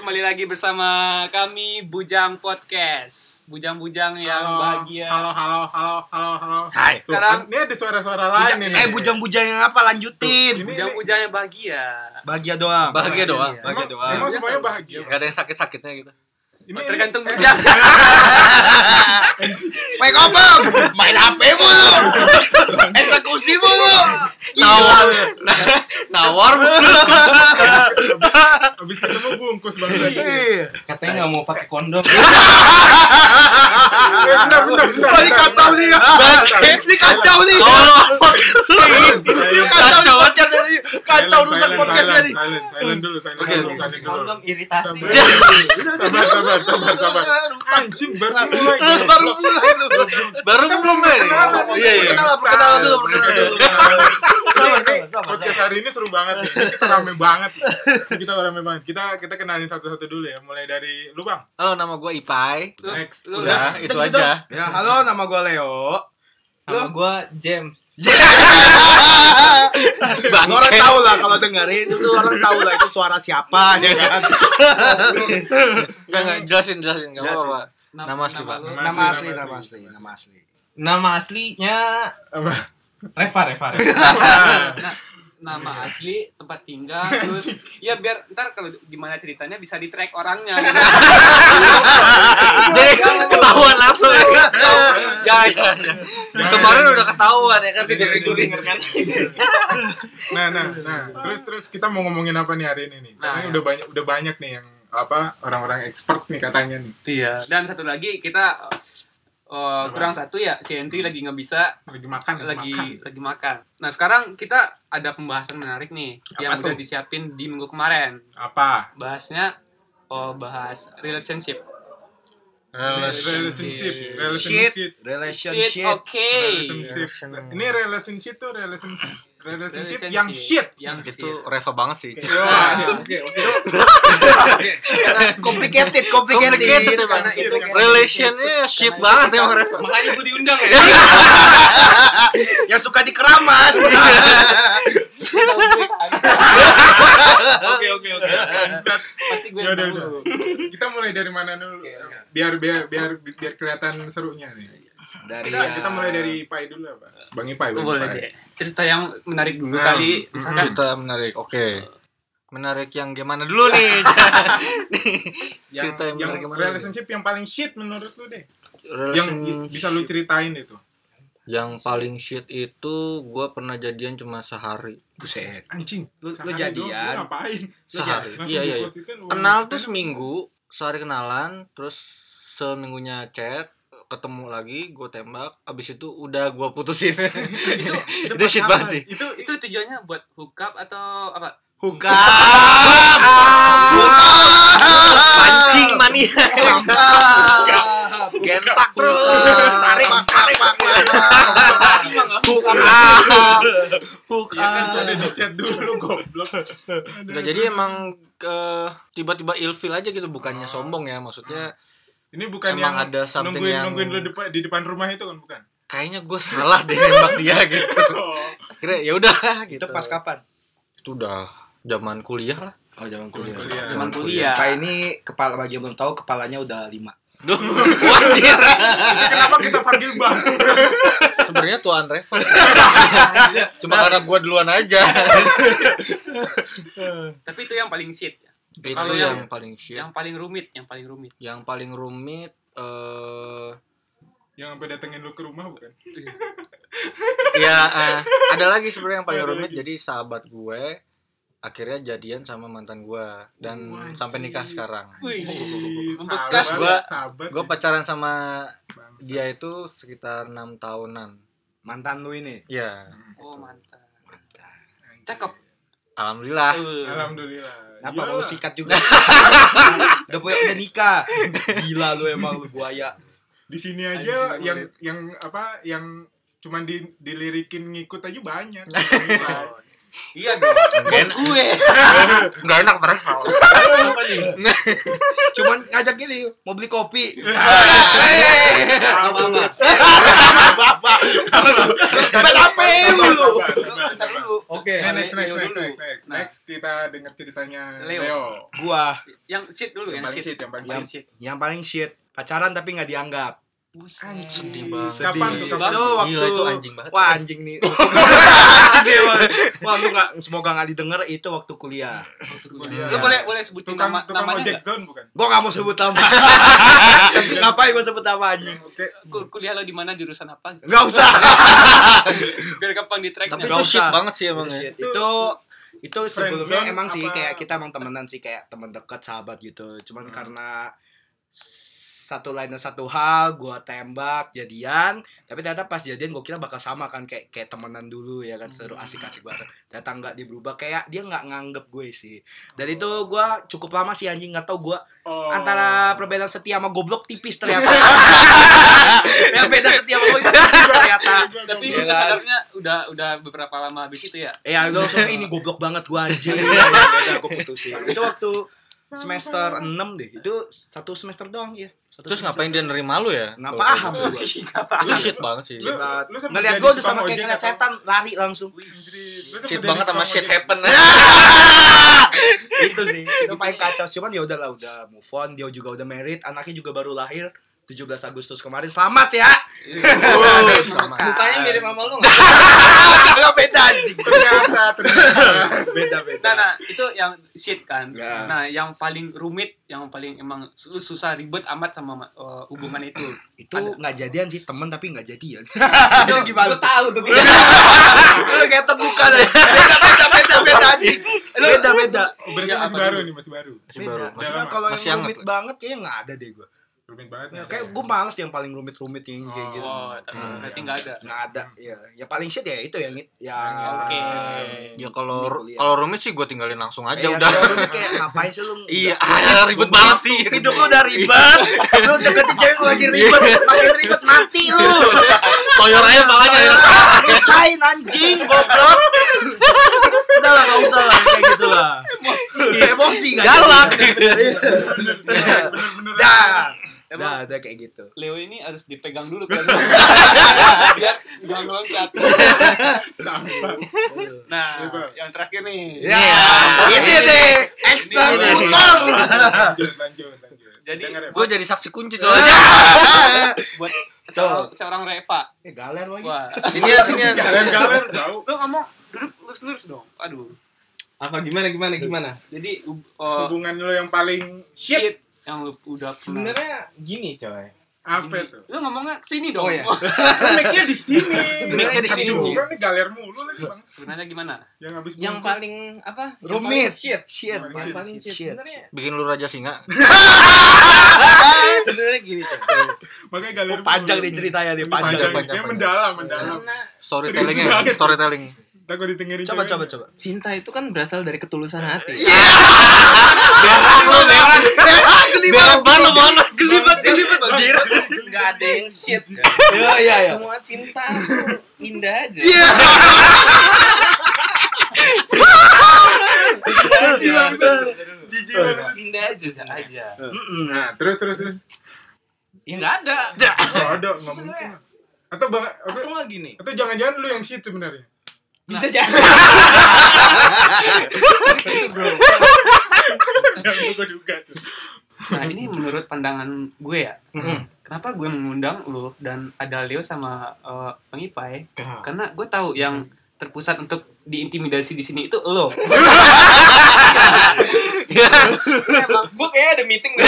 kembali lagi bersama kami Bujang Podcast. Bujang-bujang yang Halo, bahagia. Halo, halo, halo, halo, halo. Hai. Tuh, Sekarang- kan, ini ada suara-suara Bujang- lain nih. eh bujang-bujang yang apa Ini- lanjutin? Bujang-bujang yang bahagia. Bahagia doang. Bahagia doang. Iya. Bahagia Emang, doang. emang semuanya bahagia. Gak ada yang sakit-sakitnya gitu. Ini, Tergantung ini- bujang. Make up bang, main HP mulu, eksekusi mulu. Nawar. Nawar mulu. Habis ketemu bungkus banget lagi. Katanya nggak mau pakai kondom. Eh, bentar, bentar, bentar. Ini kacau nih, Iya, ini kacau nih. Oh, Ini kacau nih podcast ini, kacau Silent, rusak silent, podcast silent, ini. Silent, silent dulu, silent Oke, dulu, oke. silent dulu. Kondom iritasi. Sabar, sabar, sabar, sabar, sabar. Anjing, baru mulai. Baru mulai lu. Baru belum men. Perkenalan, Iya iya. perkenalan, perkenalan dulu, perkenalan dulu. Sabar, sabar, ini sabar. Podcast hari ini seru banget nih. Ini Kita rame banget. Ini Kita rame banget. Kita kita kenalin satu-satu dulu ya. Mulai dari lu, Bang. Halo nama gue Ipai. Lu- Next. lu- Udah itu aja. Ya, halo nama gue Leo. Nama gue James. Bang. orang tahu lah kalau dengerin itu orang tahu lah itu suara siapa ya kan. Enggak enggak jelasin jelasin enggak Jelasin. apa-apa. Nama asli, Pak. lu- Nama asli, nama asli, nama asli. Nama aslinya Apa? Nah, Reva, Reva. Reva. Nah, Nama Iya. asli, tempat tinggal, terus ya biar ntar kalau gimana ceritanya bisa di track orangnya. gitu. Jadi ketahuan langsung ya. Jangan, jangan, jangan. Jangan. Kemarin udah ketahuan ya kan tidak Jadi ditulis. kan. nah nah nah terus terus kita mau ngomongin apa nih hari ini nih karena Nah, ya. udah banyak udah banyak nih yang apa orang-orang expert nih katanya nih Iya. Dan satu lagi kita eh, kurang satu ya si Henry Hmm. lagi nggak bisa lagi makan lagi makan lagi makan. Nah sekarang kita ada pembahasan menarik nih yang Apa udah tuh? disiapin di minggu kemarin. apa bahasnya oh bahas relationship relationship Relationship. relationship shit Relationship. oke relationship Nah, ini relationship tuh relationship relationship yang shit yang Itu shit Nah, Reva banget sih. Wah, Oke, oke. Complicated, Complicated complicated. sih bang. Karena itu kan- Relationnya shit banget ya Bang Reva. Makanya gue diundang ya. Yang suka dikeramas. Oke, oke, oke. bangsat. pasti gue Ya udah, tahu. udah. kita mulai dari mana dulu Oke, oke. biar biar biar biar kelihatan serunya nih Iya, Dari kita, kita mulai dari Ipai dulu apa Bang Ipai Bang boleh Ipai deh cerita yang menarik dulu Nah. Hmm. kali Hmm. misalkan Cerita menarik. Oke. Menarik yang gimana dulu nih? yang, Cerita yang yang menarik kemarin. relationship yang paling shit menurut lu deh yang i- Relation bisa lu ceritain itu Yang paling shit itu gua pernah jadian cuma sehari. Buset. anjing Lu, lu sehari doang, lu jadian. ngapain Sehari. Oh, Langsung Iya iya. iya. dipositin, lu- Kenal tuh seminggu, sehari kenalan, terus seminggunya chat, ketemu lagi, gue tembak, abis itu udah gua putusin. Itu itu shit banget Mm-hmm. sih. itu itu tujuannya buat hook up atau apa Huka. Anjing mania. Gentak terus. Tarik, tarik, Iya ya kan sudah di chat dulu goblok Nggak, jadi emang eh, tiba-tiba ilfil aja gitu Oh. bukannya sombong ya maksudnya ini bukan yang emang ada something nungguin yang Iya. nungguin lu depan, di depan rumah itu kan bukan kayaknya gue salah deh nembak dia gitu akhirnya ya udah gitu Itu pas kapan? itu udah zaman kuliah lah Oh, zaman kuliah. Nah, kuliah. zaman Zaman kuliah Kak ini kepala bagi yang belum tahu kepalanya udah lima. Duh, anjir. Itu kenapa kita panggil bang Sebenarnya tuan Reva. Cuma karena gua duluan aja. tapi itu yang paling shit Itu Kalau yang- yang, paling shit. yang Yang, Iya. paling rumit yang paling rumit paling rumit eh yang sampai datengin lu ke rumah bukan ya eh, ada lagi sebenarnya yang paling Ada rumit lagi. jadi sahabat gue akhirnya jadian sama mantan gua dan Wajib. sampai nikah sekarang. Wih. Ih, Membekas. sahabat Gua- sahabat Gue ya, pacaran sama bangsa. dia itu sekitar enam tahunan. Mantan lu ini. Iya, oh mantap Anjing. Cakep. alhamdulillah. alhamdulillah Kenapa Iyalah. mau sikat juga? udah punya udah nikah. Gila lu emang lu buaya. di sini aja Anjing, yang murid. yang apa yang cuman di, dilirikin ngikut aja banyak Iya dong. Nggak enak. Gue. Nggak enak Reva. Apa nih? Cuman ngajak ini mau beli kopi. Nah, Apa-apa. Bapak. Kenapa lu? Ntar dulu. Oke. Nah, next, next, Leo next, dulu. next, next. Nah. Next, kita dengar ceritanya Leo. Leo. Gua Yang shit dulu Yang yang paling shit. cheat, yang paling Yang shit. yang paling shit pacaran tapi nggak dianggap. Buset. Iya. Sedih banget. Hmm. Kapan tuh, kapan? Itu waktu Gila itu anjing banget. Wah anjing nih. Sedih banget. Wah lu nggak semoga nggak didengar itu waktu kuliah. Kuliah. Lu boleh boleh sebutin Tukang, nama tukang namanya ojek nggak? zone bukan? Gua nggak mau sebut nama. Ngapain gua sebut nama anjing? Oke. Ku- Kuliah lo di mana jurusan apa? Nggak usah. Biar gampang di tracknya. Tapi Nggak itu shit usah. banget sih emang Iya, ya. Shit. itu itu sebelumnya Friendzone emang sih apa? kayak kita emang temenan sih kayak teman dekat sahabat gitu cuman Hmm. karena satu lain dan satu hal gua tembak jadian tapi ternyata pas jadian gua kira bakal sama kan kayak kayak temenan dulu ya kan seru Hmm. asik-asik bareng ternyata nggak dia berubah kayak dia nggak nganggep gue sih dan itu gua cukup lama sih anjing nggak tau gua Oh. antara perbedaan setia sama goblok tipis ternyata ya beda setia sama goblok tipis ternyata Tapi Iya itu kan? sadarnya udah udah beberapa lama habis itu ya. Ya lo langsung ini goblok banget gua anjing. Ya udah gua putusin. Itu waktu semester 6 deh. Itu satu semester doang ya. Satu Terus semester. ngapain dia nerima lu ya? Nggak Kalau paham kayak gua. gitu. Itu shit banget sih. Lu- lu sempat Ngeliat jadi Iya, gua tuh tukang sama kayak ojek ngeliat atau- setan lari langsung. Lu sempat Shit jadi banget sama tukang shit ojek. happen. itu sih. Itu paling kacau. Cuman ya udahlah udah move on. Dia juga udah married, anaknya juga baru lahir 17 Agustus kemarin. Selamat ya. Iya. sama. Mukanya mirip sama lu nggak? Enggak beda anjing. Ternyata, ternyata. Beda Nah, beda. nah, itu yang shit kan. Ya. Nah, yang paling rumit, yang paling emang lu susah ribet amat sama uh, hubungan itu. Itu Ada. nggak jadian sih, temen tapi nggak jadian. Lu Itu gimana? Lu tahu tuh. Lu kayak terbuka deh. Beda beda beda beda anjing. Beda beda. Berarti Iya, masih apa baru dulu? nih, masih baru. Masih baru. Masih Maksudnya lama. kalau yang Masih hangat, ya? rumit Pak. banget kayaknya nggak ada deh gue. Rumit banget. Ya, kayak gue males yang paling rumit-rumit yang kayak gitu. Oh, tapi Hmm. berarti nggak ada. Nggak ada. Ya, yang paling shit ya itu yang ya. Oke. Ya kalau Ini kuliah. kalau rumit sih gue tinggalin langsung Eh, aja yang udah. kalau rumit kayak ngapain sih lu? Iya, ah, ribet Gua- banget sih. Hidup lu udah ribet. lu deketin cewek lu lagi ribet, makin ribet mati lu. Toyor aja makanya ya. Rasain anjing, goblok. Udah lah, nggak usah lah kayak gitu lah. Emosi kan? nggak Galak. Bener-bener. Dah, dah, Emang dah kayak gitu. Leo ini harus dipegang dulu kan. Biar nggak ngeloncat. Sampah. Nah, Coba. yang terakhir Eh, nih. Ya, ini deh eksekutor. Lanjut, lanjut, lanjut. Jadi, Dengar ya, Gue Pak. jadi saksi kunci soalnya. Buat seorang, seorang Reva. Eh, galer lagi. Wah. Sini ya, sini ya. Galer-galer tahu. Lu ngomong duduk lurus-lurus dong. Aduh. Apa gimana gimana gimana? Jadi uh, Hubungan lo yang paling shit shit yang lu udah pernah. Sebenarnya gini coy. apa tuh? Lu ngomongnya ke sini dong. Oh, iya. Mic-nya di sini. Mic-nya di sini. Bukan nih kan galer mulu lagi bang. Sebenarnya gimana? Yang habis Yang bungkus. paling apa? Yang Rumit. paling Shit. Shit, Yang paling shit. shit. Sebenarnya Bikin lu raja singa. sebenarnya gini coy. Makanya galer. Oh, panjang mulu. nih ceritanya nih, Ini panjang. panjang, Dia panjang. mendalam, mendalam. Karena Storytellingnya, Serius banget. storytelling. Takut ditinggalin. Coba coba coba. cinta itu kan berasal dari ketulusan hati. Biar baru baru gelibet gelibet anjir. Enggak ada yang shit. coy. Iya iya iya. Semua cinta tuh indah aja. Iya. Iya, Indah aja. Jijik. Indah aja bisa aja. Nah, terus terus terus. Iya. Ya enggak ada. Gak ada, nggak mungkin. Atau bang, Atau nggak gini. atau jangan-jangan lu yang ya? shit sebenarnya. Bisa jadi. Itu, bro. Yang gue duga tuh. Nah ini menurut pandangan gue ya. Kenapa gue mengundang lu dan ada Leo sama eh, Bang Ipai? Kenapa? Karena gue tahu yang terpusat untuk diintimidasi di sini itu lo. emang, Gue kayaknya ada meeting deh.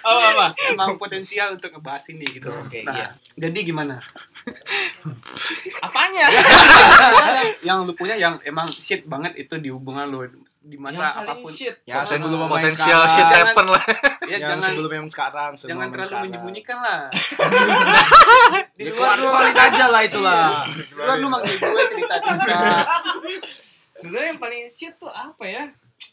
apa, apa, emang potensial untuk ngebahas ini gitu. Oke, nah, iya. jadi gimana? Apanya? yang lu punya yang emang shit banget itu di hubungan lu di masa Yang paling apapun. shit. Ya, Poten- sebelum sama yang Potensial sekarang, shit eh. happen lah. Ya, yang jangan sebelum yang sekarang, sebelum jangan yang terlalu sekarang. Ya, menyembunyikan lah. di luar lu, Dikeluarin aja lah itulah. di luar lu manggil gue cerita-cerita. Sebenarnya yang paling shit tuh apa ya?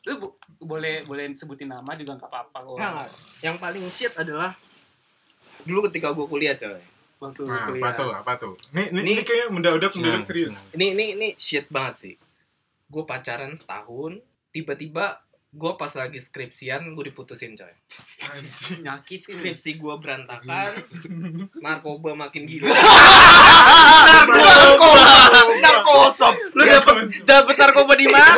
lu bu- boleh boleh sebutin nama juga nggak apa-apa kok. Nah, yang paling shit adalah dulu ketika gue kuliah coy waktu Nah, apa kuliah. tuh? Apa tuh? Nih, nih, Nih. ini kayaknya mendadak mendadak Nah. Senang, serius. senang. Ini ini ini shit banget sih. Gue pacaran setahun, tiba-tiba gue pas lagi skripsian gue diputusin coy. Anjing. Nyakit sih. Krips. Skripsi gue berantakan, narkoba makin gila. narkoba narkosop lu dapet dapet narkoba di mana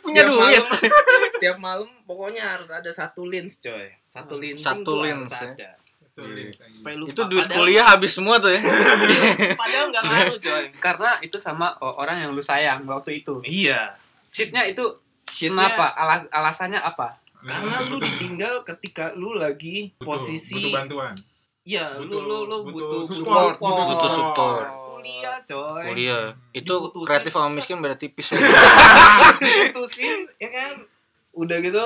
punya Tiap duit malam- tiap malam pokoknya harus ada satu lens coy. Satu lens. Satu lens, ya. Ada. Tulis, Supaya anjing. lupa. itu duit Padahal- kuliah habis semua tuh ya Padahal nggak ngaruh coy. Karena itu sama oh, orang yang lu sayang waktu itu. Iya. Shitnya itu Shitnya- kenapa? Alas, alasannya apa? Karena lu ditinggal ketika lu lagi Butuh- posisi butuh bantuan. Iya, lu Butuh- lu lu butuh butuh support, butuh butuh support. Kuliah, coy. kuliah itu Diputusin. kreatif sama miskin beda tipis ya. Putusin, ya kan? Udah gitu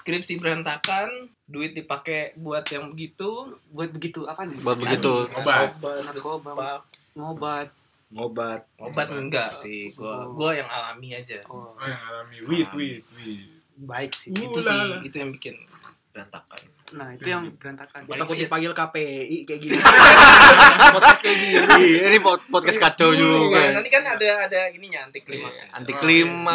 skripsi berantakan, duit dipakai buat yang begitu, kan? Buat begitu apa nih? buat begitu Obat. terus Narkoba. paks. Ngobat. ngobat Obat enggak sih, gua gua yang alami aja. Oh, Oh, yang alami. Wait, wait, wait. baik sih. Itu sih, Ulala. itu yang bikin berantakan. Nah, itu yang berantakan. Baik. takut shit. dipanggil KPI kayak gini podcast kayak gini ini pod- podcast kacau Nah, juga nanti kan ada ada ininya anti klimaks. anti klima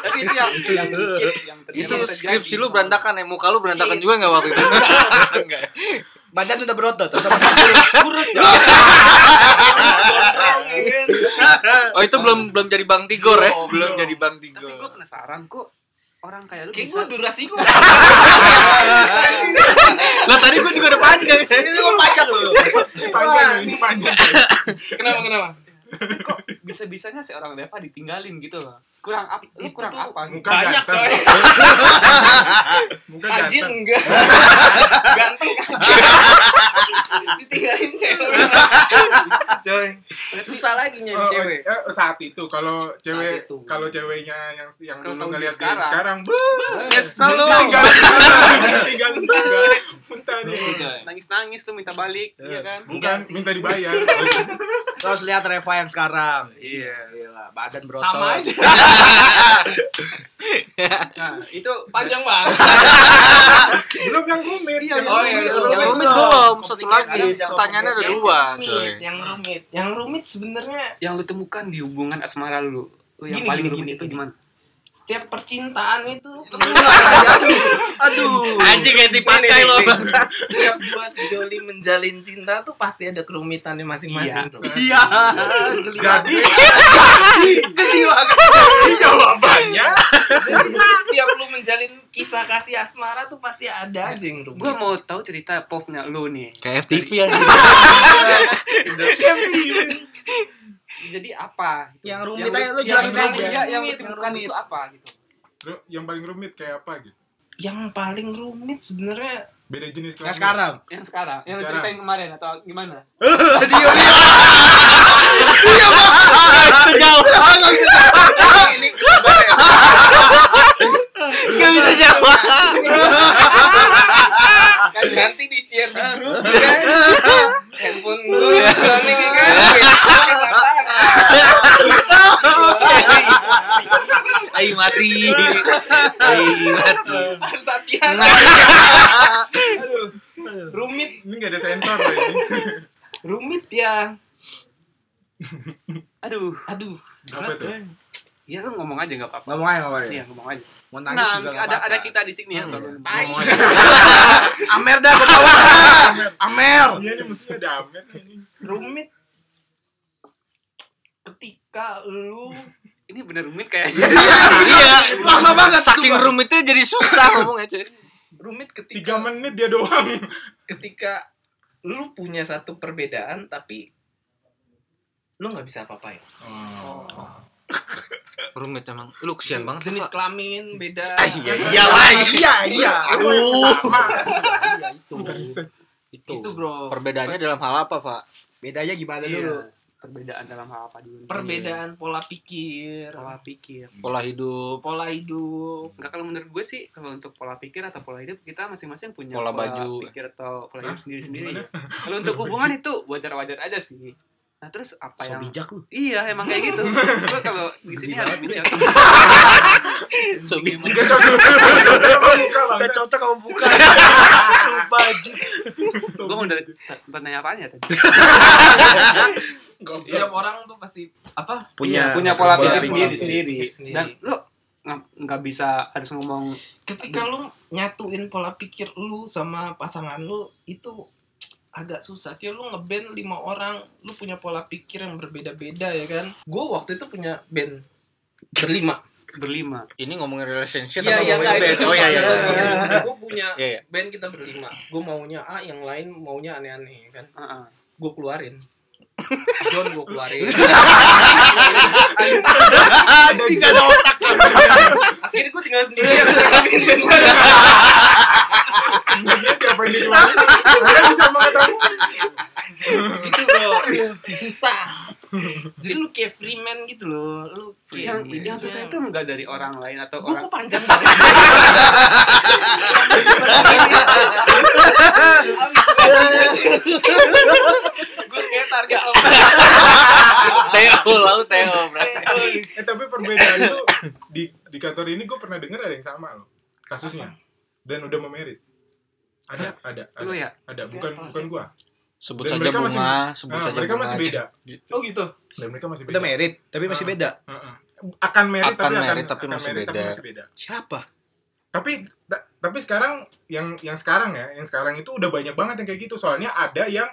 Tapi itu yang Itu shit yang yang- terjadi. itu Yang terjadi. skripsi lu berantakan ya muka lu berantakan juga nggak waktu itu Enggak ya? badan udah berotot udah masuk Kurus, coy. Iya kan? oh itu belum belum jadi bang tigor ya Belum, belum belum. jadi bang Tapi tigor gue penasaran kok orang kayak lu Kayak bisa gua durasi gua lah tadi gua juga udah panjang ini gua panjang lu Panjang, ini panjang. Kenapa kenapa? kok bisa bisanya si orang Deva ditinggalin gitu loh kurang apa lu Itu kurang tuh apa gitu Muka Banyak, ganteng. coy. Muka Ajin ganteng. enggak. Ganteng kagak. Ditinggalin cewek. Coy. Susah lagi nyari Oh, cewek. eh, saat itu kalau cewek itu. kalau ceweknya yang yang Kalau dulu tahu ngeliat dia dia sekarang, bu, Nyesel lu. tinggal tinggal tinggal mentah Gitu, nih. coy. nangis nangis Iya. lu minta balik Eh. iya kan Bukan sih. minta dibayar. terus lihat Reva yang sekarang iya Gila, badan berotot oh, Sama aja. nah itu Panjang banget. Belum yang rumit. Iya, yang oh, rumit. iya, yang Belum, rumit belum. belum satu Komplikasi. lagi pertanyaannya ada dua coy Rumit, Iya, Yang rumit. Yang rumit sebenarnya yang lu temukan di hubungan asmara lu lu yang Gini, paling gini, rumit gini, itu gini. gimana setiap percintaan itu aduh anjing kayak dipakai Ini, lo ini, ini. setiap dua sejoli menjalin cinta tuh pasti ada kerumitannya Iya. masing-masing. tuh. iya Jadi gila jawabannya Jadi, Tiap lu menjalin kisah kasih asmara tuh pasti ada aja yang rumit. gua mau tahu cerita povnya lu nih kayak FTV anjing jadi apa Yang rumit aja, lu yang- jelasin yang- aja. iya, yang lu Rumit, temukan rumit. itu apa gitu Lu yang paling rumit kayak apa gitu? yang paling rumit sebenarnya Beda jenis yang kelamin. sekarang yang sekarang yang lu Sekarang. ceritain kemarin atau gimana dia jauh nggak bisa jawab Ah, kan nanti di share di grup gitu kan handphone lu cloning kan ayo mati ayo mati harus hati-hati Aduh, rumit Ini gak ada sensor loh ini. rumit ya aduh aduh Apa berat, tuh? coy. ya lu ngomong aja nggak apa-apa ngomong aja ngomong aja iya ngomong aja mau nangis nah juga ada nggak ada apa-apa. kita di sini ya Hmm. selalu Tai. Amer dah gua bawa. Amer Iya ini mestinya ada amet ini. rumit ketika lu ini bener rumit kayaknya iya Lama banget, saking sumpah. rumitnya jadi susah ngomongnya coy rumit Tiga ketika menit dia doang. ketika lu punya satu perbedaan tapi lu nggak bisa apa-apa ya rumit emang lu kesian banget jenis jenis kelamin beda Ah, iya, iyalah. iya iya Aku yang sama. Iya, itu itu itu bro perbedaannya dalam hal apa pak bedanya gimana Iya. dulu perbedaan dalam hal apa dulu perbedaan pola pikir pola pikir pola hidup pola hidup Enggak kalau menurut gue sih kalau untuk pola pikir atau pola hidup kita masing-masing punya Pola baju. pikir atau pola hidup Hah? sendiri-sendiri. Gimana? Kalau untuk hubungan itu wajar-wajar aja sih. Nah terus apa So yang bijak lu. Iya emang kayak gitu. Gue kalau di sini harus bijak. So bijak. Gak cocok. Buka Gak banget. cocok kamu buka. Sumpah anjing. Gue mau dari tempat nanya apanya ya tadi. Goblok. Setiap orang tuh pasti apa? Punya Iya, Punya pola pola pikir pikir sendiri sendiri. sendiri. Dan lu nggak- nggak bisa harus ngomong Ketika lu nyatuin pola pikir lu sama pasangan lu itu agak susah kayak lu ngeband lima orang lu punya pola pikir yang berbeda-beda ya kan gue waktu itu punya band berlima berlima. Ini ngomongin relationship Iya, atau iya, ngomongin nggak, bed? itu Oh iya iya. cuma- iya. Gue punya Iya, iya. band kita berlima. Gue maunya A, yang lain maunya aneh-aneh kan. Heeh. Gue keluarin. John gue keluarin. Anjing gak ada otak. Akhirnya gue tinggal sendiri. yang ngejalanin band gua. Dia siapa yang dikeluarin? Anda bisa mengetahui. gitu loh. Susah. Jadi lu kayak free man gitu loh. Lu kayak gitu. Yang yang susah itu enggak dari orang lain atau Gue orang kok panjang banget. Gue kayak target orang. Teo, lau Teo berarti. Eh tapi perbedaan lu di di kantor ini gue pernah dengar ada yang sama loh kasusnya dan udah memerit. Ada, ada, lu ada, ya. ada. Bukan bukan gua. Sebut Dan saja mereka masih- bunga, sebut Ah, saja mereka bunga. masih beda. Oh gitu. Dan mereka masih beda. Udah merit, tapi masih Ah. beda. Heeh. Akan merit Akan tapi merit tapi masih merit beda. masih beda. Siapa? tapi ta- tapi sekarang yang yang sekarang ya yang sekarang itu udah banyak banget yang kayak gitu soalnya ada yang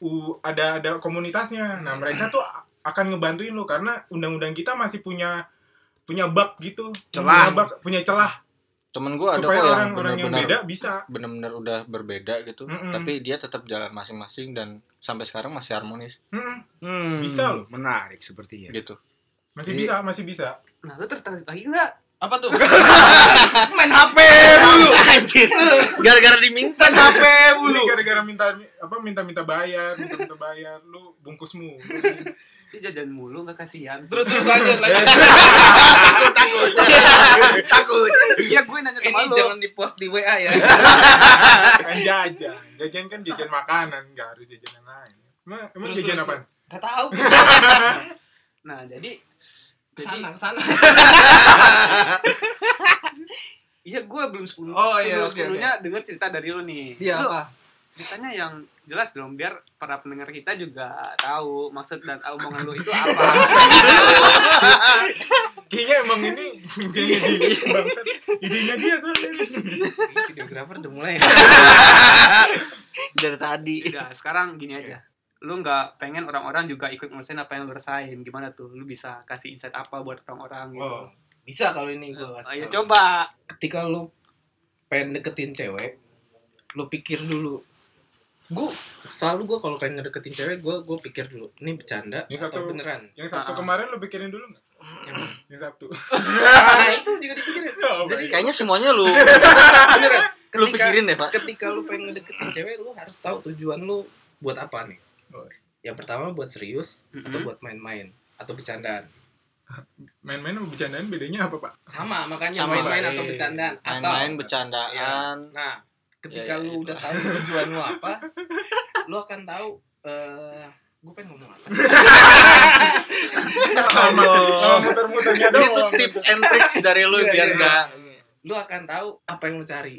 uh, ada ada komunitasnya nah mereka tuh a- akan ngebantuin lo karena undang-undang kita masih punya punya bug gitu punya, Celah. bug, punya celah Temen gue ada supaya kok yang orang-orang yang benar-benar beda bisa benar-benar udah berbeda gitu, Mm-mm. tapi dia tetap jalan masing-masing dan sampai sekarang masih harmonis Mm-mm. Hmm, Bisa loh. Menarik sepertinya. Iya. gitu. masih Jadi- bisa masih bisa Nah lu tertarik lagi nggak? Apa tuh? Main HP mulu. Anjir. Gara-gara diminta Main HP Ini mulu. gara-gara minta apa minta-minta bayar minta-minta bayar lu bungkusmu Lu jajan mulu nggak kasihan. Terus terus aja lagi. Takut, takut. Takut. Iya gue nanya sama Ini lu. jangan di post di WA ya. kan jajan jajan kan jajan makanan nggak harus jajan yang lain emang, emang Terus, jajan terus. apa Gak tahu. Nah jadi jadi Kesana kesana. iya gue belum sepuluh. Oh, iya, belum oke, oke. sepuluhnya denger cerita dari lu nih. Iya Lu apa? ceritanya yang jelas dong biar para pendengar kita juga tahu maksud dan omongan lu itu apa. Kayaknya emang ini kayaknya di bangsat. Idenya dia soalnya. Videographer udah mulai. ya. dari tadi. Udah, Iya, sekarang gini aja. Lu nggak pengen orang-orang juga ikut ngurusin apa yang lu rasain. Gimana tuh? Lu bisa kasih insight apa buat orang-orang gitu. Oh. Bisa kalau ini gue kasih. Ayo tau. coba. Ketika lu pengen deketin cewek, lu pikir dulu. Gue selalu gue kalau pengen deketin cewek, gue gue pikir dulu. Ini bercanda Yang atau satu. beneran? Yang Sabtu Ah. kemarin lo pikirin dulu nggak? Yang Sabtu. Nah itu juga dipikirin. Oh, Jadi baik. Kayaknya semuanya lu Beneran. lu Ketika- pikirin deh, Pak. ketika lu pengen deketin cewek, lu harus tahu tujuan lu buat apa nih. Oh. Yang pertama buat serius atau Mhm. buat main-main atau bercandaan. main-main sama bercandaan bedanya apa pak? Sama makanya Sama. main-main atau bercandaan atau Iya, Main-main bercandaan. Nah, ketika Ya, ya, lu itu. udah tahu tujuan lu apa, lu akan tahu eh gue pengen ngomong apa. sih? Sama sama muter-muternya doang. Iya. Itu tips and tricks dari lu Iya, biar iya. enggak Lu akan tahu apa yang lu cari.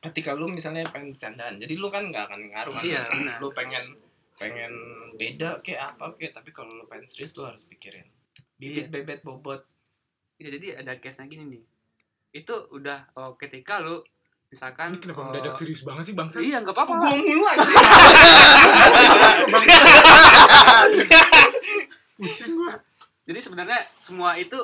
Ketika lu misalnya pengen bercandaan, jadi lu kan nggak akan ngaruh kan? Iya, benar. Lu pengen pengen beda kayak apa kayak tapi kalau lu pengen serius lu harus pikirin. Bibit bebet bobot. Iya, jadi ada case-nya gini nih. Itu udah oh, ketika lu Ini misalkan kenapa oh, mendadak serius banget sih bangsa? Iya, enggak apa-apa. Gue mulu aja. Pusing gua. Jadi sebenarnya semua itu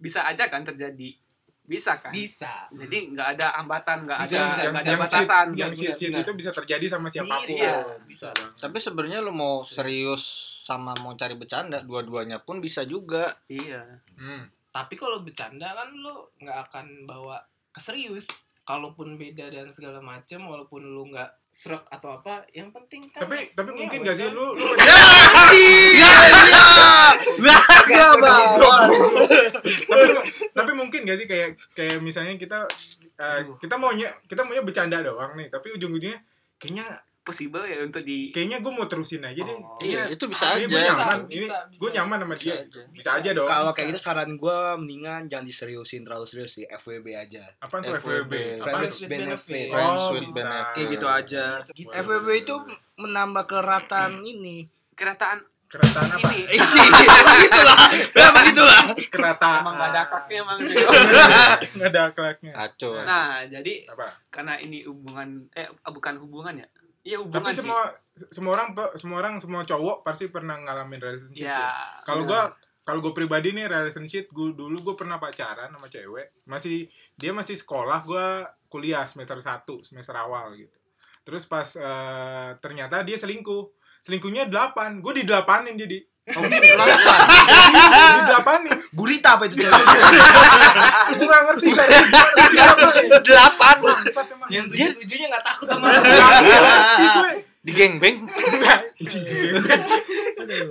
bisa aja kan terjadi. Bisa kan? Bisa. Jadi nggak ada hambatan, nggak Bisa, Iya. ada bisa, nggak yang ada yang shit, batasan. yang shit, shit benar. itu bisa terjadi sama siapapun. Bisa, bisa. Bisa. Tapi sebenarnya lu mau serius sama mau cari bercanda, dua-duanya pun bisa juga. Iya. Hmm. Tapi kalau bercanda kan lu nggak akan bawa keserius. Kalaupun beda dan segala macem, walaupun lu nggak serak atau apa, yang penting kan. Tapi tapi Ngewe, mungkin gak sih kan? lu lu Iya. Lah, enggak, Bang. tapi tapi mungkin gak sih kayak kayak misalnya kita eh, kita maunya kita maunya bercanda doang nih tapi ujung-ujungnya kayaknya possible ya untuk di Kayaknya gue mau terusin aja deh. Oh. Iya, itu bisa Ah, dia aja. punya nyaman. Ini bisa. Gue nyaman sama Bisa dia. gitu. aja. Bisa aja dong. Kalau kayak gitu saran gue mendingan jangan diseriusin terlalu serius sih FWB aja. Apaan tuh FWB? FWB. Apaan? Friends with benefit. Oh, Friends with bisa. benefit. Kayak gitu aja. Boleh, FWB boleh, itu boleh. menambah keratan ini. kerataan kerataan apa? ini Ini begitulah. Ya begitulah. Kerataan. Nah, emang gak ada ya? akaknya emang gitu. Iya. Nggak ada akhlaknya. Kacau. nah jadi Apa? karena ini hubungan eh bukan hubungan ya iya hubungan Tapi sih semua semua orang semua orang semua cowok pasti pernah ngalamin relationship. ya sih. Kalau gua kalau gue pribadi nih relationship gue dulu gue pernah pacaran sama cewek masih dia masih sekolah gua kuliah semester 1 semester awal gitu terus pas eh, ternyata dia selingkuh selingkuhnya 8 gue didelapanin jadi Oh, kenapa? didelapanin Gurita apa itu cewek? gue gak ngerti tadi didelapanin Delapan. Bangsat emang. Nah, Yang tujuh tujuhnya nggak takut sama Gak ngerti gue. Di geng beng. Anjing. Aduh.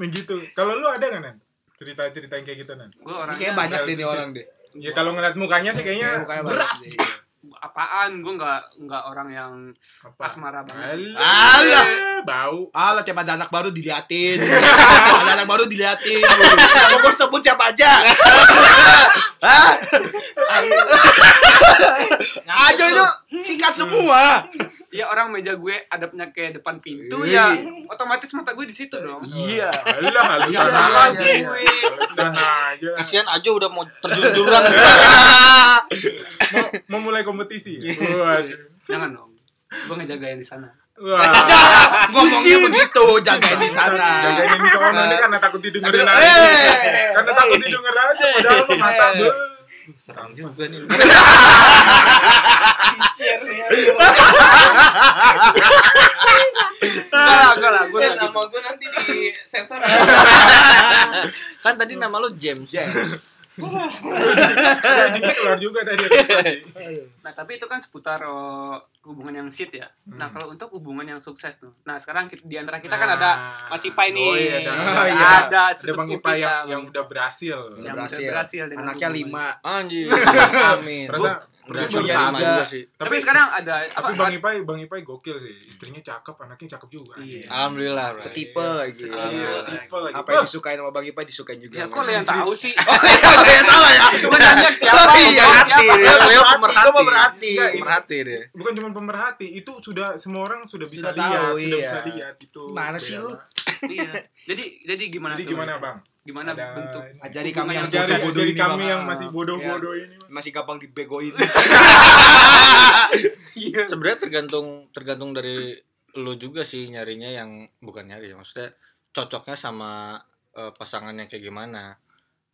nah gitu kalau lu ada nggak nan cerita cerita yang kayak gitu nan gue Ini orangnya kayak banyak deh nih orang deh. ya kalau ngeliat mukanya sih Kayak kayaknya Iya, mukanya berat gitu. banyak deh. apaan gue nggak nggak orang yang apa asmara banget Alah. Bau. Ah, lah, siapa ada anak baru diliatin. ada anak baru diliatin. Kalau gue sebut siapa aja. Hah? Ajo itu singkat semua. ya orang meja gue adabnya kayak depan pintu Wih. ya otomatis mata gue di situ dong Iya. Alah, Iya, halusan iya, aja. iya, iya. gue Halusan aja. Kasihan aja udah mau terjun jurang. Mau, mau mulai kompetisi. ya? Iya. Waduh. jangan dong gue ngejagain di sana Wah. Ngomongnya Iya, begitu, jagain di sana. Jagain di sana ini karena takut didengerin aja. Eh. Karena takut didengerin aja padahal lu mata Eh. gue. Serang juga nih. enggak lah enggak lah gue Eh, nggak gitu. nama gue nanti di sensor. kan tadi nama lu James. Yes. Jadinya keluar juga tadi. nah tapi itu kan seputar eh, hubungan yang shit ya nah kalau untuk hubungan yang sukses tuh nah sekarang kita, di antara kita kan ada Mas Ipai nih Nah. Oh iya, ada. Oh, ada- iya. ada Ada sesepupu Bang Ipai yang, kita, yang Bang. udah berhasil. Udah Yang berhasil. dengan Anaknya hubungan. lima. Anjir. Amin. Perasaan- perasaan Enggak cuma baru iya, lima satu. iya. juga sih. tapi sekarang ada apa Tapi Bang Ipai, Bang Ipai gokil sih. Istrinya cakep, anaknya cakep juga. Iya. Alhamdutilah. Bro. Setipe gitu. lagi. Iya, Alhamdulillah. setipe lagi. Apa yang disukain sama Bang Ipa disukain juga. ya kok lo yang tahu sih Oh iya, lo yang salah ya. Cuma nanya siapa, Oh, iya, ngomong hati. siapa. Leo ya, Leo pemerhati. pemerhati. Gue pemerhati. Enggak, ini- Merhati dia. bukan cuma pemerhati itu sudah semua orang sudah bisa Sudah lihat tahu, sudah iya. bisa lihat itu Mana sih lu? Iya. jadi jadi gimana jadi tuh? gimana bang gimana Ada bentuk ini. Ajari kami yang Iya. ajari, sukses. ajari ini, kami Bang. yang masih bodoh-bodoh ini Bang. Masih gampang dibegoin. Iya. Sebenarnya tergantung tergantung dari lu juga sih nyarinya yang bukan nyari ya, maksudnya cocoknya sama eh, pasangan yang kayak gimana.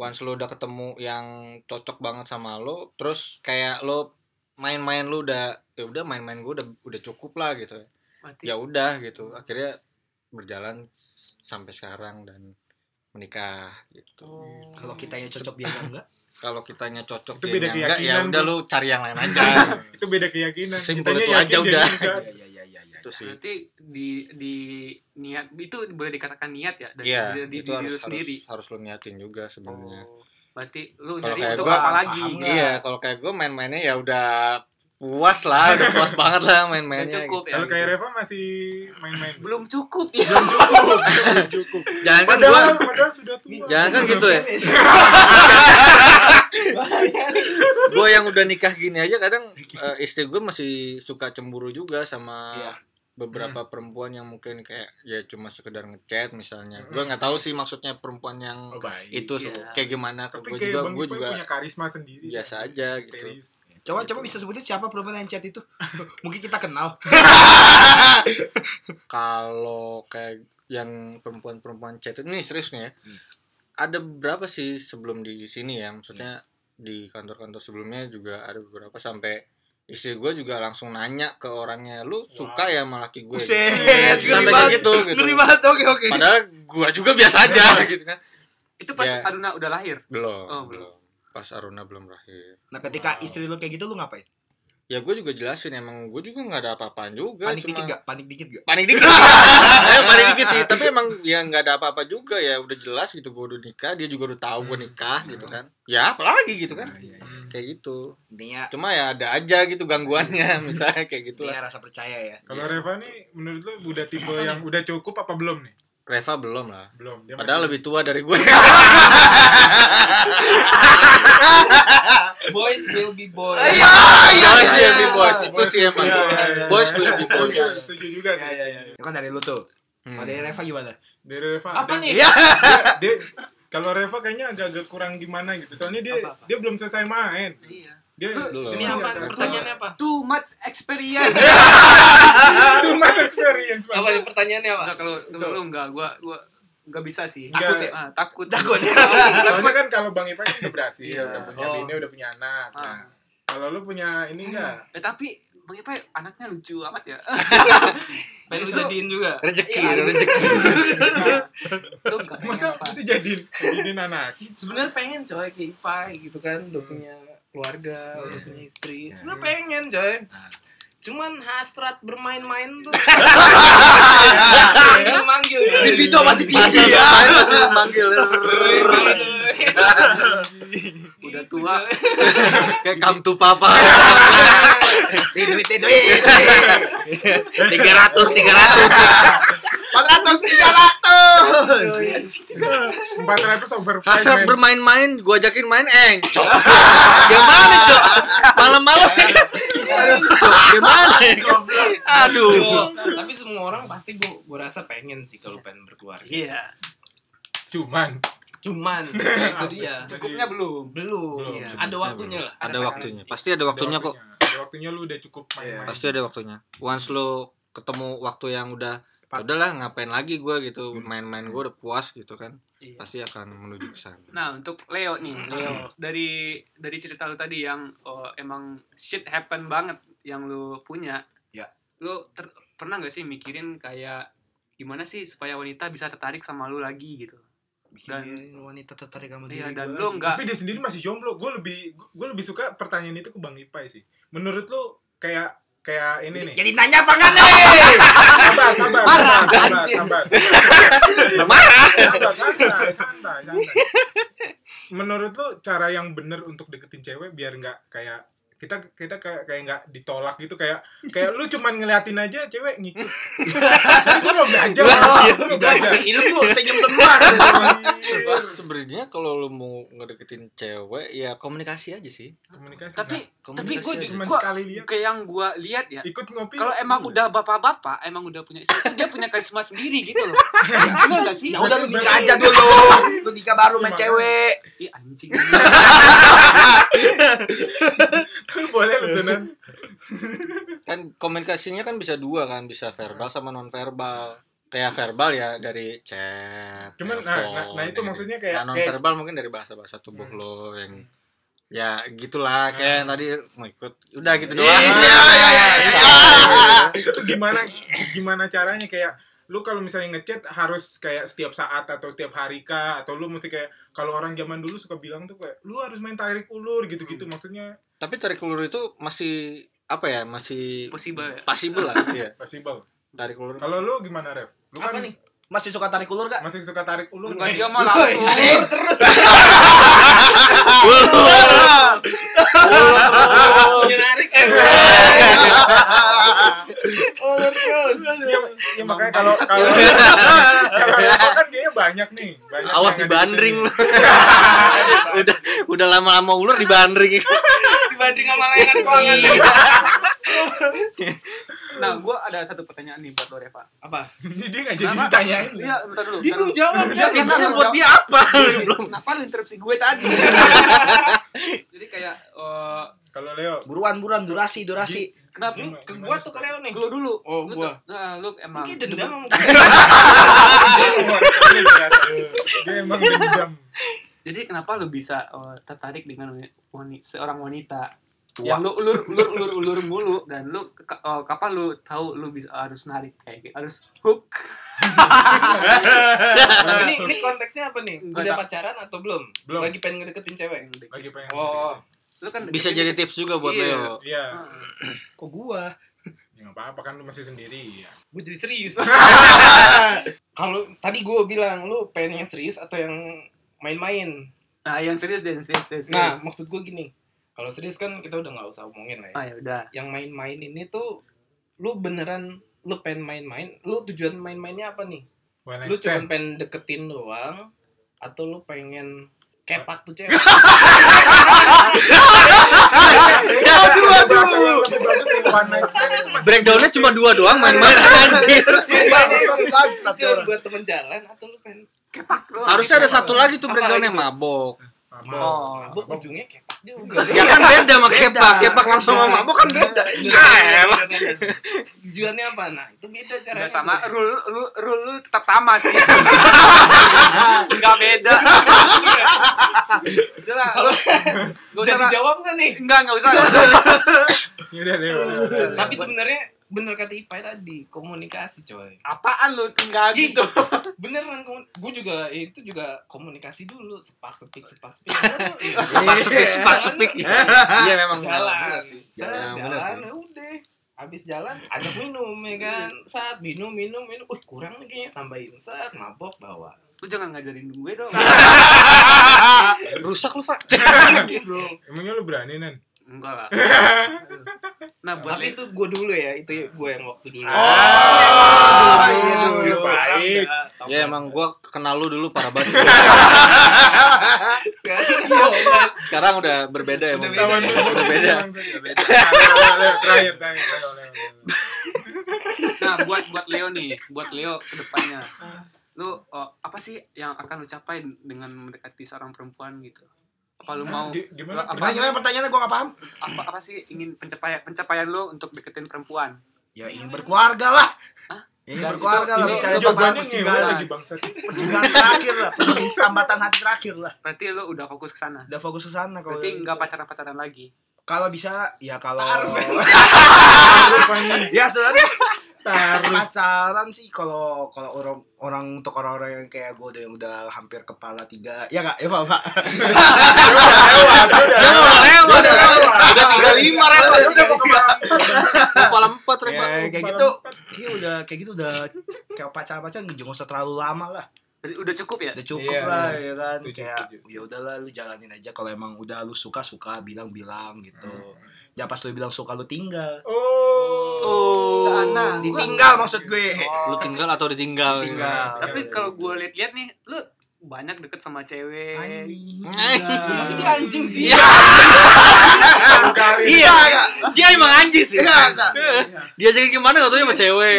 Once lu udah ketemu yang cocok banget sama lu, terus kayak lu main-main lu udah ya udah main-main gue udah udah cukup lah gitu. mati Ya udah gitu. Akhirnya berjalan sampai sekarang dan menikah gitu. Oh. Kalau kitanya cocok dia yang enggak. kalau kitanya cocok Itu dia beda yang enggak, ya keyakinan, udah Bu. lu cari yang lain aja itu beda keyakinan Sesimpel Kitanya itu aja yakin, dia udah. enggak. Iya iya iya iya. itu sih berarti di di niat itu boleh dikatakan niat ya dari iya dari, diri itu lu harus, sendiri harus harus lu niatin juga sebenarnya oh berarti lu Kalau nyari kayak untuk gua, apa paham, lagi ya? paham. Enggak. iya kalau kayak gue main-mainnya ya udah puas lah udah puas banget lah Udah main-mainnya gitu. cukup ya kalau kayak Reva masih main-main belum cukup ya belum cukup belum cukup gitu. jangan kan gua padahal padahal sudah tua jangan kan gitu ya gue yang udah nikah gini aja kadang eh, istri gue masih suka cemburu juga sama Iya. beberapa perempuan yang mungkin kayak ya cuma sekedar ngechat misalnya gue nggak tahu sih maksudnya perempuan yang Oh, baik. itu Iya. se- kayak gimana ke tapi gue kayak juga bang kan gue Ipai juga punya karisma sendiri biasa aja gitu Serius. Coba coba bisa sebutin siapa perempuan yang chat itu? Mungkin kita kenal. kalau kayak yang perempuan-perempuan chat ini serius nih ya Hmm. ada berapa sih sebelum di sini ya Hmm. maksudnya di kantor-kantor sebelumnya juga ada beberapa sampai istri gue juga langsung nanya ke orangnya lu suka ya sama laki gue gitu. Buset, ngeri sampai kayak banget. gitu gitu Ngeri banget. Oke oke. padahal gue juga biasa aja gitu kan itu pas Ya. Aruna udah lahir belum Oh, belum. belum pas Aruna belum rahim Nah, ketika Wow. istri lu kayak gitu lu ngapain? ya gue juga jelasin emang gue juga nggak ada apa-apaan juga Panik dikit gak? Panik dikit gak? panik dikit Eh, panik dikit sih tapi emang ya nggak ada apa-apa juga ya udah jelas gitu gue udah nikah dia juga udah tahu gue nikah gitu kan ya apalagi gitu kan Nah, iya, iya. Hmm, kayak gitu Intinya, cuma ya ada aja gitu gangguannya misalnya kayak gitu intinya lah rasa percaya ya. Kalau Reva nih menurut lu udah tipe yang udah cukup apa belum nih? Reva belum lah Belum. Dia padahal masih- lebih tua dari Iya, gue Boys will be boys. boys iya. will be boys itu sih emang Iya, iya, iya. boys will be boys Setuju, Setuju juga Iya, sih. Itu kan dari lu tuh. Hmm. Kalau dari Reva gimana? Dari Reva. Apa ada- nih? Iya. dia- dia kalau Reva kayaknya agak-agak kurang gimana gitu. Soalnya dia Apa-apa? dia belum selesai main. Iya. Dia Belum. Ini masih apa? agak- Pertanyaannya apa? Too much experience. Too much Ah, experience, Pak. Apa nih pertanyaannya apa? Enggak kalau kalau lu enggak gua gua enggak bisa sih. Takut Enggak, ya? ah, takut. Takut. Soalnya kan kalau Bang Ipan udah berhasil, Iya. udah punya Oh. Ah. bini, udah punya anak. Ah. Nah, kalau lu punya ini enggak? Eh, tapi Bang Ipa anaknya lucu amat ya. Pengen lu Justru- jadiin juga. rezeki Iya. rezeki Lu enggak Masa apa. mesti jadiin jadiin anak? Sebenarnya pengen coy kayak Ipai gitu kan, udah punya keluarga, udah punya istri. Sebenarnya pengen coy. Cuman hasrat bermain-main tuh. manggil manggil. Libido masih tinggi Asal ya. ngapain masih manggil Udah tua. kayak come to papa Duit, duit, duit, duit. tiga ratus tiga ratus 400, 300. 400 overpriced. Hasrat men. bermain-main, gua ajakin main eng. Cok. Gimana, Cok? Malam-malam. gitu, Cok, Gimana? Aduh. Tapi semua orang pasti gua gua rasa pengen sih kalau pengen berkeluarga. Iya. Cuman Cuman itu dia. Cukupnya belum. Belum. Belum. Ada waktunya lah. Ada pengen. waktunya. Pasti ada waktunya kok. Ada waktunya lu udah cukup main-main. Pasti ada waktunya. Once lo ketemu waktu yang udah udahlah ngapain lagi gua gitu main-main gua udah puas gitu kan Iya. pasti akan menuju ke sana Nah, untuk Leo nih, Hmm. Leo. dari dari cerita lu tadi yang oh, emang shit happen banget yang lu punya. Ya. Lu ter- pernah nggak sih mikirin kayak gimana sih supaya wanita bisa tertarik sama lu lagi gitu? Bikin wanita tertarik sama diri Iya, dan gua lu lagi. nggak Tapi dia sendiri masih jomblo. Gue lebih gue lebih suka pertanyaan itu ke Bang Ipai sih. Menurut lu kayak kayak ini nih. Jadi nanya apa Iya, enggak nih? Sabar, sabar, sabar, sabar, anjing. sabar, marah sabar, santai, santai, santai. Menurut lu cara yang bener untuk deketin cewek biar nggak kayak kita kita kayak kayak nggak ditolak gitu kayak kayak lu cuman ngeliatin aja cewek ngikut. Gue mau belajar, gue mau belajar. Ilmu senyum semua. sebenarnya kalau lo mau ngedeketin cewek ya komunikasi aja sih Komunikasi. Tapi tapi Komunikasi gue aja. cuman gua- sekali dia kayak yang gua lihat Iya, ya, ikut ngopi. kalau emang udah bapak-bapak, emang udah punya istri, kan dia punya karisma sendiri gitu loh. Benar gak sih? Ya udah lu nikah aja Iya, dulu. Lu nikah baru Iya, main Gimana? cewek. Ih, anjing. boleh lu Tunan. kan komunikasinya kan bisa dua kan bisa Hmm. verbal sama non verbal kayak verbal ya dari chat Cuman, nah, telepon, nah- nah itu dari- maksudnya kayak- nah, non kayak- Hmm. verbal mungkin dari bahasa bahasa tubuh lo yang ya gitulah kayak tadi mau ikut udah gitu Iya. doang itu gimana gimana caranya kayak lu kalau misalnya ngechat harus kayak setiap saat atau setiap hari kah atau lu mesti kayak kalau orang zaman dulu suka bilang tuh kayak lu harus main tarik ulur gitu-gitu maksudnya tapi tarik ulur itu masih apa ya masih Possible ya? possible lah iya possible tarik ulur Ah. kalau lu gimana Rev? lu Apa kan nih? Masih suka tarik ulur gak? masih suka tarik ulur Enggak nih. dia mah langsung. terus. nah, Menarik Eh, kan? Ulur Oh, terus. Iya, iya, makanya kalau kalau kan, kalau Reva kan kayaknya banyak nih banyak yang awas nggak dibandring lo deketin. nah, udah udah lama-lama ulur dibandring Dibanding sama layanan keuangan. Nah, gua ada satu pertanyaan nih buat lo, Reva. Apa? jadi dia nggak jadi Kenapa? ditanyain Iya, bentar dulu. Dia bentar belum dulu. Iya, jawab kan? Jangan, tipsnya jangan, buat jangan. dia apa belum Kenapa lu interupsi gue tadi? Jadi kayak eh, kalau Leo Buruan buruan durasi durasi. kenapa Ini ke gua tuh ke Leo nih. lu dulu? Oh, Lu gua. tuh- Nah, lu emang Mungkin dendam sama dia emang dendam Jadi kenapa lu bisa eh, tertarik dengan wani- seorang wanita? Tua. Yang lu ulur ulur ulur ulur mulu dan lu ke- eh, kapan lu tahu lu bisa harus narik kayak gitu, harus hook. gua. Ini ini konteksnya apa nih? Enggak Udah tak- pacaran atau belum? Belum. Lagi pengen ngedeketin cewek. lagi pengen Oh. lu kan Bisa jadi tips juga buat Iya. Leo. Iya, Ah. Kok gua? ya nggak apa-apa kan lu masih sendiri ya. Gua jadi serius. Kalau tadi gua bilang lu pengen yang serius atau yang main-main. nah yang serius deh yang serius yang serius Nah, maksud gua gini. Kalau serius kan kita udah nggak usah omongin lah ya. ah ya udah Yang main-main ini tuh lu beneran lu pengen main-main, lu tujuan main-mainnya apa nih? One Lu night cuma stand. pengen deketin doang atau lu pengen kepak tuh cewek? Aduh, aduh. Lebih bagus nih, one night stand itu masih Breakdownnya cuma dua doang main-main anjir. Iya, Cuma buat temen jalan atau lu pengen kepak lu Harusnya ada satu lagi tuh Apa breakdownnya lagi tuh? mabok. mabok. oh mabuk Mabok. ujungnya kepak juga. Ya kan beda sama kepak. Kepak langsung sama mabok kan beda. Ya elah. Tujuannya apa? Nah, itu beda caranya. udah sama rule lu rule lu tetap sama sih nggak beda udah lah Kalau nggak usah jadi lah. jawab nggak nih? Enggak, enggak usah. nggak usah. Ya udah, Leo. Tapi sebenarnya bener kata Ipai tadi, komunikasi coy. Apaan lu tinggal Ih. gitu? Beneran gue juga itu juga komunikasi dulu, sepak sepik sepak sepik. Sepak sepik, sepak sepik. Iya memang. iya. jalan Jalan, jalan, bener sih. jalan ya udah habis jalan ajak minum ya kan Iya. saat minum minum minum wih kurang nih kayaknya tambahin saat mabok bawa Lu jangan ngajarin gue dong. Rusak lu, Pak. bro Emangnya lu berani, Nen? Enggak lah. Nah, buat tapi Leo, itu gue dulu ya itu gue yang waktu dulu Ah. Ah. Oh, iya dulu, dulu baik. Ya emang gua kenal lu dulu parah banget. Sekarang udah berbeda ya, Udah Bang. beda Tawan ya. dulu. Udah beda. Udah beda. Leo, Leo, Terakhir, terakhir, Leo, Leo, Leo. nah buat buat Leo nih, buat Leo kedepannya. Lu oh, apa sih yang akan lu capai dengan mendekati seorang perempuan gitu? Apa lu mau Gi- Gimana? Apa? Pertanyaannya pertanyaannya gua gak paham. apa apa sih ingin pencapaian pencapaian lu untuk deketin perempuan? Ya ingin berkeluarga lah. Hah? Ingin Dan berkeluarga itu- lah, itu- mencari Ada itu tempat Jawabannya ngewe persinggahan, persidangan. lagi bangsa. persinggahan terakhir lah, hambatan hati terakhir lah. Berarti lu udah fokus ke sana. Udah fokus ke sana kalau gitu. Berarti enggak pacaran-pacaran lagi. kalau bisa ya kalau Rupanya ya sebenarnya taruh. pacaran sih kalau kalau orang orang untuk orang-orang yang kayak gue udah yang udah hampir kepala tiga ya kak ya pak pak Udah, Ya udah lewat. Udah Udah Iya. 35 Reva. udah mau kemana? Kepala 4 Reva. ya, kayak gitu kayak udah kayak gitu udah kayak pacaran pacaran jangan usah terlalu lama lah Berarti udah cukup ya? udah cukup Iya, lah ya kan Setuju, kayak setuju. ya udahlah lu jalanin aja kalau emang udah lu suka suka bilang bilang gitu Hmm. ya pas lu bilang suka lu tinggal Oh. Tanah. ditinggal maksud gue iya. Lu tinggal atau ditinggal? Ditinggal. Tapi kalau gue lihat-lihat nih, lu banyak deket sama cewek. Anjing. tapi dia anjing sih Iya. Satu kali. Iya, dia emang anjing sih. Dia jadi kemana gak tau sama cewek.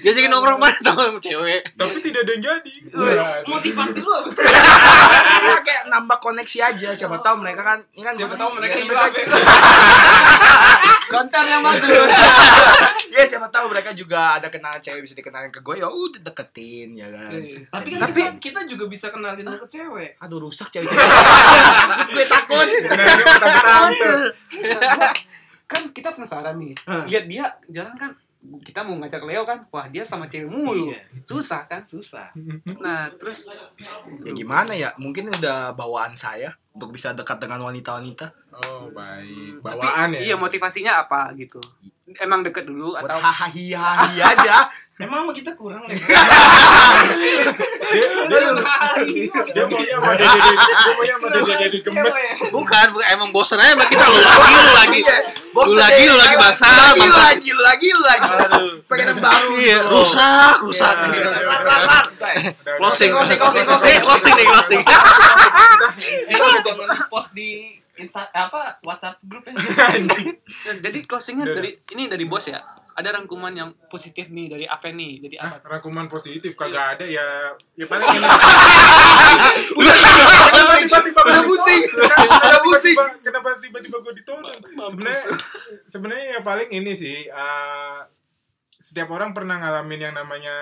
Dia jadi nongkrong mana tau sama cewek. Tapi tidak ada yang jadi. Iya, motivasi lu apa sih Iya, kayak nambah koneksi aja siapa tahu mereka kan ini kan siapa gua- tahu mereka ya, hilang ya. Konten yang bagus. ya siapa tahu mereka juga ada kenalan cewek bisa dikenalin ke gue ya udah deketin ya kan tapi kan Tapi- kita, kita juga bisa kenalin lu ke cewek aduh rusak cewek-cewek gue takut Iya. Nah, kan kita penasaran nih. Hmm. Lihat dia jalan kan kita mau ngajak Leo kan. Wah, dia sama cewek mulu. Iya. Susah kan? susah Nah, terus ya gimana ya mungkin udah bawaan saya untuk bisa dekat dengan wanita-wanita Oh, baik. Hmm, Bawaan tapi, Iya, ya. motivasinya apa gitu? Emang deket dulu buat atau hahaha hihahi aja emang sama kita kurang lah Iya. Dia maunya sama dia jadi dia maunya sama dia jadi gemes. Bukan, bukan. emang bosen aja sama kita lu lagi lu lagi. Iya. Lu lagi lu lagi bangsa, lagi lu bangsa. lagi lu lagi lu lagi pengen yang baru Iya, gitu. rusak, rusak. Iya. Kelar, kelar, kelar. Udah, udah, Closing, udah. closing, closing, closing. Eh, closing nih, closing. Ini jangan post di Insta apa WhatsApp grup ya. Nah, jadi closingnya Udah. dari ini dari bos ya. Ada rangkuman yang positif nih dari apa nih? Jadi Ah, apa? rangkuman positif kagak ada ya ya paling ini tiba-tiba gua Udah pusing. ditolak. Kenapa Udah pusing. tiba-tiba- kenapa tiba-tiba gue ditolak sebenarnya sebenarnya ya paling ini sih eh, setiap orang pernah ngalamin yang namanya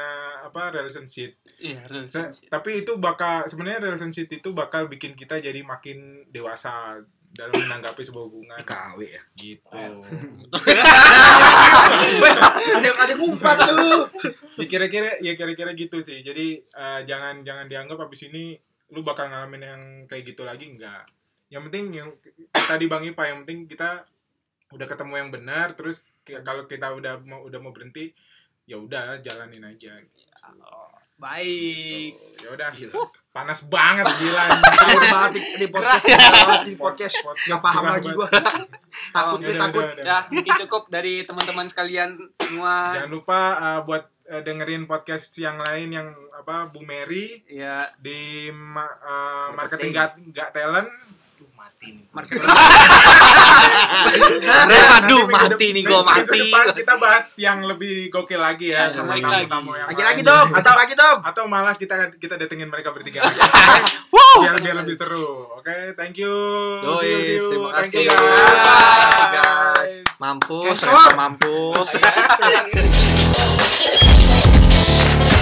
apa relationship Iya, Se- relationship. tapi itu bakal sebenarnya relationship itu bakal bikin kita jadi makin dewasa dalam menanggapi sebuah hubungan KW ya gitu ada ada umpat tuh ya kira-kira ya kira-kira gitu sih jadi eh, jangan jangan dianggap abis ini lu bakal ngalamin yang kayak gitu lagi enggak yang penting yang tadi bang Ipa yang penting kita udah ketemu yang benar terus ki- kalau kita udah mau udah mau berhenti ya udah jalanin aja Oh, baik Gitu. ya udah Gila. panas banget gila Takut banget di, di podcast, takut banget di podcast. Gak paham Gerah lagi banget. gua. Takut Udah, gue udah, takut. udah, udah. ya mungkin cukup dari teman-teman sekalian semua jangan lupa eh, buat eh, dengerin podcast yang lain yang apa Bu Mary ya di ma- eh, marketing Marketing. gak, Gak talent Lu mati nih. marketing Aduh, mati Nanti minggu dep- nih gua, minggu mati. depan kita bahas yang lebih gokil lagi ya Ya, sama balik tamu-tamu lagi. yang Lagi lain. lagi dong, acap lagi dong. atau malah kita kita datengin mereka bertiga lagi. biar biar lebih seru oke thank you Yoi, See you, see you. terima Thank kasih. you, Bye, guys. Mampus, Sensor. ternyata mampus.